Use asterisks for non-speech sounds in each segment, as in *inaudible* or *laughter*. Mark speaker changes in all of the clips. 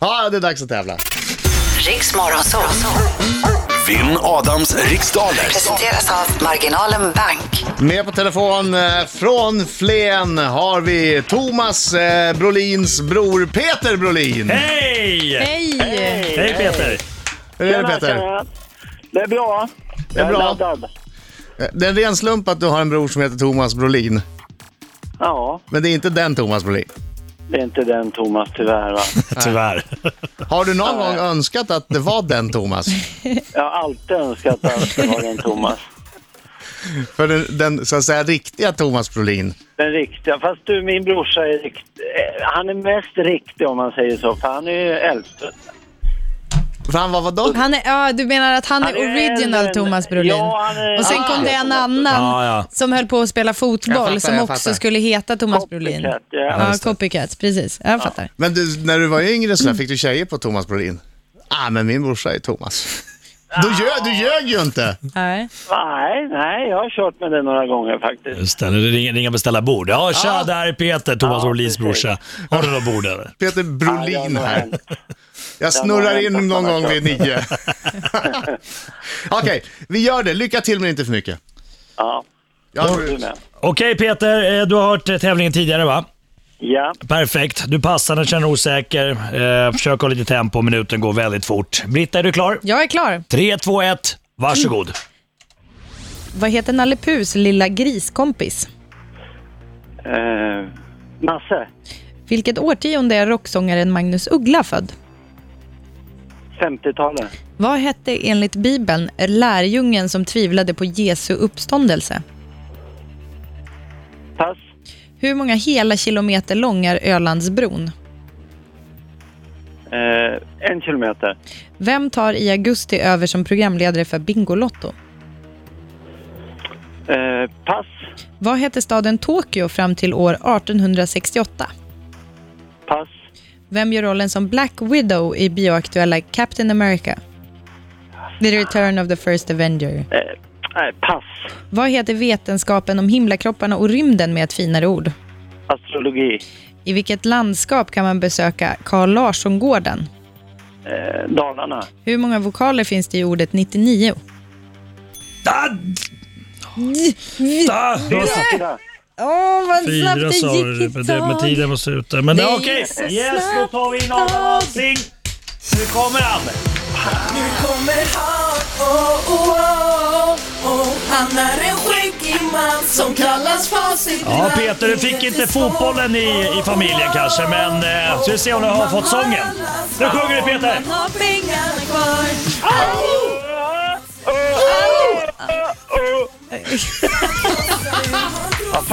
Speaker 1: Ja, det är dags att tävla.
Speaker 2: Riksmorgon så, så
Speaker 3: Vinn Adams riksdaler.
Speaker 2: presenteras av Marginalen Bank.
Speaker 1: Med på telefon eh, från Flen har vi Thomas eh, Brolins bror Peter Brolin.
Speaker 4: Hej!
Speaker 5: Hej!
Speaker 4: Hej Peter!
Speaker 1: Hur är det Peter?
Speaker 6: Det är bra.
Speaker 1: Det är
Speaker 6: Jag är
Speaker 1: bra.
Speaker 6: laddad.
Speaker 1: Eh, Det är en ren slump att du har en bror som heter Thomas Brolin.
Speaker 6: Ja,
Speaker 1: Men det är inte den Thomas Brolin.
Speaker 6: det är inte den Thomas tyvärr va.
Speaker 4: Tyvärr.
Speaker 1: Har du någon gång önskat att det var den Thomas?
Speaker 6: Jag har alltid önskat att det var den Thomas.
Speaker 1: För den, den så att säga riktiga Thomas Brolin.
Speaker 6: Den riktiga. Fast du, min brorsa är rikt... eh, Han är mest riktig om man säger så, för han är ju äldst.
Speaker 1: För han var vadå?
Speaker 5: Han är, ja, du menar att han,
Speaker 6: Han
Speaker 5: är
Speaker 6: är
Speaker 5: original
Speaker 6: äldre än-
Speaker 5: Thomas Brolin?
Speaker 6: Ja, han är-
Speaker 5: Och sen
Speaker 6: Ah.
Speaker 5: kom det en annan
Speaker 4: Ja, ja.
Speaker 5: som höll på att spela fotboll
Speaker 1: Jag fattar,
Speaker 5: som
Speaker 1: jag
Speaker 5: också
Speaker 1: fattar.
Speaker 5: skulle heta Thomas Brolin.
Speaker 6: Copycat, ja.
Speaker 5: Ja, copycat, precis. Jag fattar.
Speaker 1: Men du, när du var yngre så där, fick du tjejer på Thomas Brolin? Ah, men min brorsa är Thomas.
Speaker 6: Ah.
Speaker 1: Du ljög, du ljög ju inte!
Speaker 5: Nej.
Speaker 6: Nej, nej, jag har kört med det några gånger faktiskt.
Speaker 4: Just det, nu ringer, ringer och beställa bord. Ja, tja,
Speaker 1: Ja.
Speaker 4: där är Peter, Thomas
Speaker 6: Ja,
Speaker 4: Brolins
Speaker 6: precis.
Speaker 4: brorsa. Har du något bord eller?
Speaker 1: Peter
Speaker 6: Ja, det har
Speaker 1: Brolin
Speaker 6: nog
Speaker 1: här.
Speaker 6: hänt.
Speaker 1: Jag
Speaker 6: har
Speaker 1: snurrar
Speaker 6: hänt
Speaker 1: in
Speaker 6: att
Speaker 1: någon
Speaker 6: man har
Speaker 1: gång vid
Speaker 6: kört
Speaker 1: nio.
Speaker 6: *laughs*
Speaker 1: Okej, vi gör det. Lycka till men inte för mycket.
Speaker 6: Ja,
Speaker 1: Jag
Speaker 6: du
Speaker 1: har,
Speaker 6: med.
Speaker 4: Okej Peter, eh, du har hört eh, tävlingen tidigare va?
Speaker 6: Ja,
Speaker 4: Perfekt. Du passar när du känner dig osäker. Eh, försök ha lite tempo, minuten går väldigt fort. Britta, är du klar?
Speaker 5: Jag är klar.
Speaker 4: 3, 2, 1,
Speaker 5: Mm.
Speaker 4: varsågod.
Speaker 5: Vad heter Nalle Puhs lilla griskompis?
Speaker 6: eh, Nasse,
Speaker 5: Vilket årtionde är rocksångaren Magnus Uggla född?
Speaker 6: 50-talet.
Speaker 5: Vad hette enligt Bibeln lärjungen som tvivlade på Jesu uppståndelse?
Speaker 6: Pass,
Speaker 5: Hur många hela kilometer lång är Ölandsbron?
Speaker 6: eh, en kilometer.
Speaker 5: Vem tar i augusti över som programledare för Bingolotto?
Speaker 6: Eh, pass,
Speaker 5: Vad hette staden Tokyo fram till år 1868?
Speaker 6: pass,
Speaker 5: Vem gör rollen som Black Widow i bioaktuella Captain America? The Return of the First Avenger.
Speaker 6: eh, nej, pass.
Speaker 5: Vad heter vetenskapen om himlakropparna och rymden med ett finare ord?
Speaker 6: Astrologi,
Speaker 5: I vilket landskap kan man besöka Carl Larsson-gården?
Speaker 6: eh, Dalarna.
Speaker 5: Hur många vokaler finns det i ordet 99?
Speaker 4: Ah!
Speaker 5: Mm.
Speaker 4: Ah!
Speaker 6: Fyra.
Speaker 5: Åh, vad
Speaker 4: Fyra sa du, men det- men tiden var slut där. Men det är okej.
Speaker 5: så
Speaker 4: Yes, då tar vi in Adam Alsing. Nu kommer han.
Speaker 7: Nu kommer han, oh, oh, oh, oh. Han är en skäggig man som kallas Facit
Speaker 4: Ja, Peter, du fick inte fotbollen i, i familjen kanske, men eh, ska vi se om du har fått sången. Nu sjunger du Peter!
Speaker 7: Han har pengarna kvar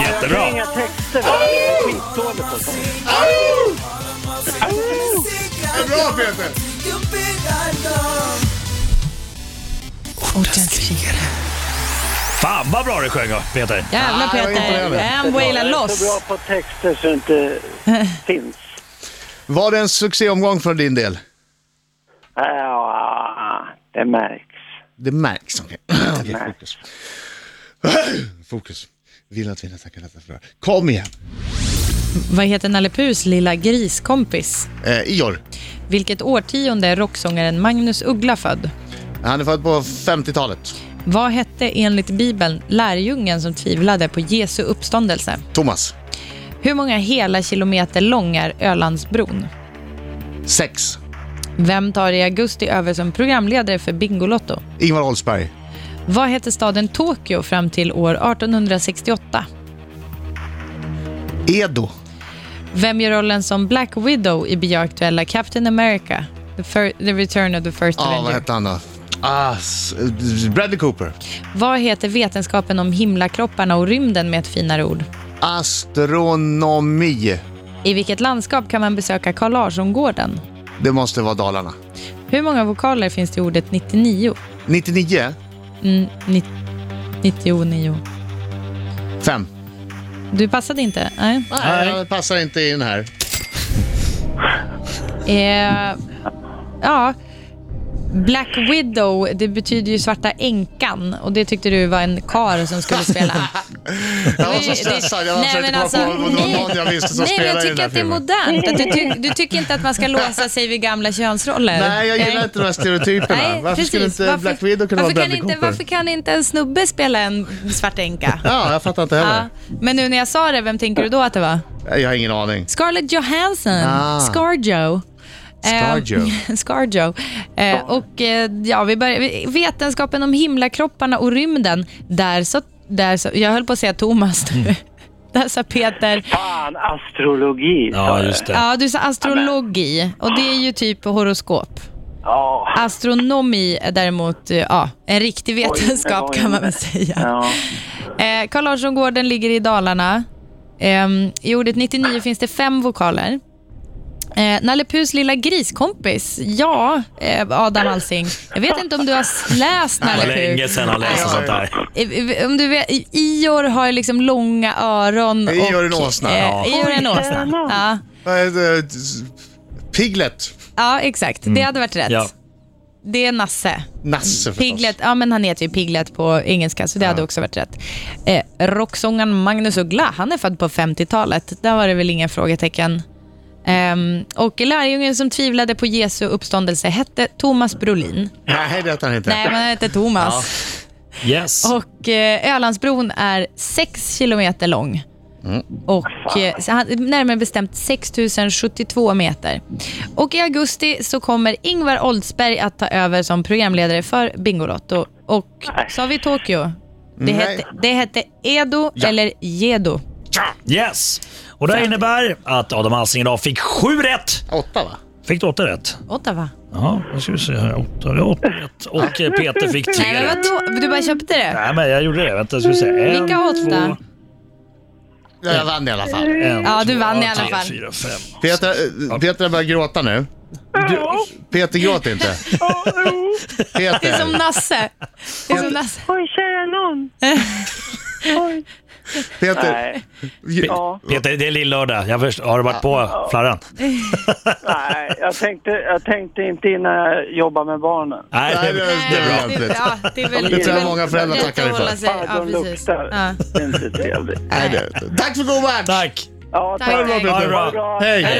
Speaker 4: Jättebra.
Speaker 6: Inga texter. va? Det är skitdåligt alltså.
Speaker 1: det är bra Peter!
Speaker 4: Fan vad bra du sjöng Peter.
Speaker 5: Jävlar
Speaker 1: Ah, jag är
Speaker 5: Peter,
Speaker 1: imponerad.
Speaker 5: en waila
Speaker 6: Jag är så
Speaker 5: loss.
Speaker 6: bra på texter så det inte finns.
Speaker 1: Var det en succéomgång från din del?
Speaker 6: Ja, det märks.
Speaker 1: Det märks. Okej, Okej, fokus. *clears throat* fokus. Vill att vinna, tackar detta för det. Kom igen!
Speaker 5: Vad heter Nalle Puhs lilla griskompis?
Speaker 1: Eh, Ior.
Speaker 5: Vilket årtionde är rocksångaren Magnus Uggla född?
Speaker 1: Han är född på 50-talet.
Speaker 5: Vad hette enligt Bibeln lärjungen som tvivlade på Jesu uppståndelse?
Speaker 1: Thomas.
Speaker 5: Hur många hela kilometer lång är Ölandsbron?
Speaker 1: Sex.
Speaker 5: Vem tar i augusti över som programledare för Bingolotto?
Speaker 1: Ingvar Oldsberg.
Speaker 5: Vad hette staden Tokyo fram till år 1868?
Speaker 1: Edo.
Speaker 5: Vem gör rollen som Black Widow i bioaktuella Captain America? The, fir- the Return of the First
Speaker 1: Ja, ah, vad
Speaker 5: Avenger.
Speaker 1: hette han då? Ah, s- Bradley Cooper.
Speaker 5: Vad heter vetenskapen om himlakropparna och rymden med ett finare ord?
Speaker 1: Astronomi.
Speaker 5: I vilket landskap kan man besöka Carl Larsson-gården?
Speaker 1: Det måste vara Dalarna.
Speaker 5: Hur många vokaler finns det i ordet 99?
Speaker 1: 99.
Speaker 5: Mm, ni- 99.
Speaker 1: 5.
Speaker 5: Du passade inte? Nej.
Speaker 1: Nej, jag passar inte in här.
Speaker 5: Eh, ja. Black Widow, det betyder ju svarta änkan och det tyckte du var en kar som skulle spela.
Speaker 1: Jag var så stressad, jag
Speaker 5: Nej,
Speaker 1: försökte
Speaker 5: men alltså,
Speaker 1: komma på om det var
Speaker 5: nej.
Speaker 1: någon jag visste som
Speaker 5: Nej, men
Speaker 1: spelade
Speaker 5: jag
Speaker 1: i den
Speaker 5: tycker
Speaker 1: här
Speaker 5: att det är
Speaker 1: filmen.
Speaker 5: modernt. Att du, ty- du tycker inte att man ska låsa sig vid gamla könsroller?
Speaker 1: Nej, jag gillar inte de här stereotyperna.
Speaker 5: Nej,
Speaker 1: varför skulle
Speaker 5: precis.
Speaker 1: inte Black Widow kunna vara
Speaker 5: varför kan
Speaker 1: Bradley
Speaker 5: inte,
Speaker 1: Cooper?
Speaker 5: Varför kan inte en snubbe spela en svart änka?
Speaker 1: Ja, jag fattar inte
Speaker 5: ja.
Speaker 1: heller.
Speaker 5: Men nu när jag sa det, vem tänker du då att det var?
Speaker 1: Jag har ingen aning.
Speaker 5: Scarlett Johansson,
Speaker 1: Ah.
Speaker 5: Scarjo.
Speaker 1: Scarjo.
Speaker 5: Eh, *laughs* Scarjo. Eh, och eh, ja, vi börjar, vi- vetenskapen om himlakropparna och rymden. Där så, där så, jag höll på att säga Thomas.
Speaker 1: Mm.
Speaker 5: *laughs* där sa Peter.
Speaker 6: Fan, astrologi.
Speaker 4: Ja, just det.
Speaker 5: Ja, du sa astrologi och det är ju typ horoskop.
Speaker 6: Ja.
Speaker 5: Astronomi är däremot eh, ja, en riktig vetenskap
Speaker 6: oj.
Speaker 5: kan man väl säga.
Speaker 6: ja.
Speaker 5: Eh, Carl Larsson-gården ligger i Dalarna. Ehm, I ordet 99 finns det fem vokaler. Eh, Nalle Puhs lilla griskompis. Ja, eh, Adam Alsing. Jag vet inte om du har s- läst
Speaker 4: Det
Speaker 5: Nalle
Speaker 4: var
Speaker 5: Puh.
Speaker 4: länge sedan han läste sånt där.
Speaker 5: Eh, Om du vet, I- Ior har ju liksom långa öron. och-
Speaker 1: Ior är en åsna, ja.
Speaker 5: Eh, Ior är en åsna. Ja,
Speaker 1: Vad är det? Piglet.
Speaker 5: ja exakt. Det hade varit rätt.
Speaker 4: Mm. Ja.
Speaker 5: Det är Nasse.
Speaker 1: Nasse förstås.
Speaker 5: Piglet, ja men han heter ju Piglet på engelska, så det hade också varit rätt. Eh, rocksångaren Magnus Uggla, han är född på 50-talet. Där var det väl inga frågetecken. Ehm, och lärjungen som tvivlade på Jesu uppståndelse hette Thomas Brolin.
Speaker 1: Nej, det heter han inte.
Speaker 5: Nej, men han hette Thomas.
Speaker 4: Yes.
Speaker 5: Och eh, Ölandsbron är 6 kilometer lång.
Speaker 1: Mm.
Speaker 5: Och eh, så han- närmare bestämt 6072 meter. Och i augusti så kommer Ingvar Oldsberg att ta över som programledare för Bingolotto. Och sa vi Tokyo? Det
Speaker 1: Nej.
Speaker 5: hette, det hette Edo eller Gedo.
Speaker 4: Yes. Och det innebär att Adam Alsing idag fick sju rätt.
Speaker 1: Åtta, va?
Speaker 4: Fick du åtta rätt?
Speaker 5: Ottawa.
Speaker 4: Ja, nu ska vi se här. Åtta, ja, åtta rätt. Och eh, Peter fick
Speaker 5: Nej,
Speaker 4: tre
Speaker 5: men
Speaker 4: rätt.
Speaker 5: vadå? Du bara köpte det?
Speaker 4: Nej, men jag gjorde det. Vänta, ska vi se. En,
Speaker 5: Vilka åtta?
Speaker 4: två,
Speaker 1: Ja, jag vann i alla fall.
Speaker 4: en,
Speaker 5: Ja, du
Speaker 4: två,
Speaker 5: vann i alla
Speaker 4: tre,
Speaker 5: fall.
Speaker 4: fyra, fem.
Speaker 1: Peter, eh, Peter har börjat gråta nu. Du, Peter, gråt
Speaker 5: *laughs*
Speaker 1: inte.
Speaker 5: Det är som
Speaker 1: Peter,
Speaker 5: Nasse. Det är som Nasse.
Speaker 8: Oj, kära någon. Oj.
Speaker 1: Peter.
Speaker 6: Nej.
Speaker 1: ju-
Speaker 6: Ja.
Speaker 4: Peter, det är lill-lördag. Jag först- Har du varit på flarran?
Speaker 6: Nej, jag tänkte, jag tänkte inte innan jag jobbade med barnen.
Speaker 4: Nej, det,
Speaker 1: det
Speaker 4: det är bra.
Speaker 1: bra.
Speaker 5: Det- ja, det är väl-
Speaker 1: Det tror jag
Speaker 5: det är väl
Speaker 1: många föräldrar
Speaker 5: rätt
Speaker 1: tackar
Speaker 5: att
Speaker 1: dig för.
Speaker 5: hålla sig-
Speaker 6: Fan,
Speaker 5: Ja,
Speaker 6: de
Speaker 5: precis.
Speaker 6: luktar.
Speaker 5: Ja.
Speaker 6: Det är inte trevligt.
Speaker 1: Nej, det- Tack för god match!
Speaker 4: Tack.
Speaker 6: Ja,
Speaker 5: Tack.
Speaker 6: tack.
Speaker 4: Ha det bra.
Speaker 1: Hej!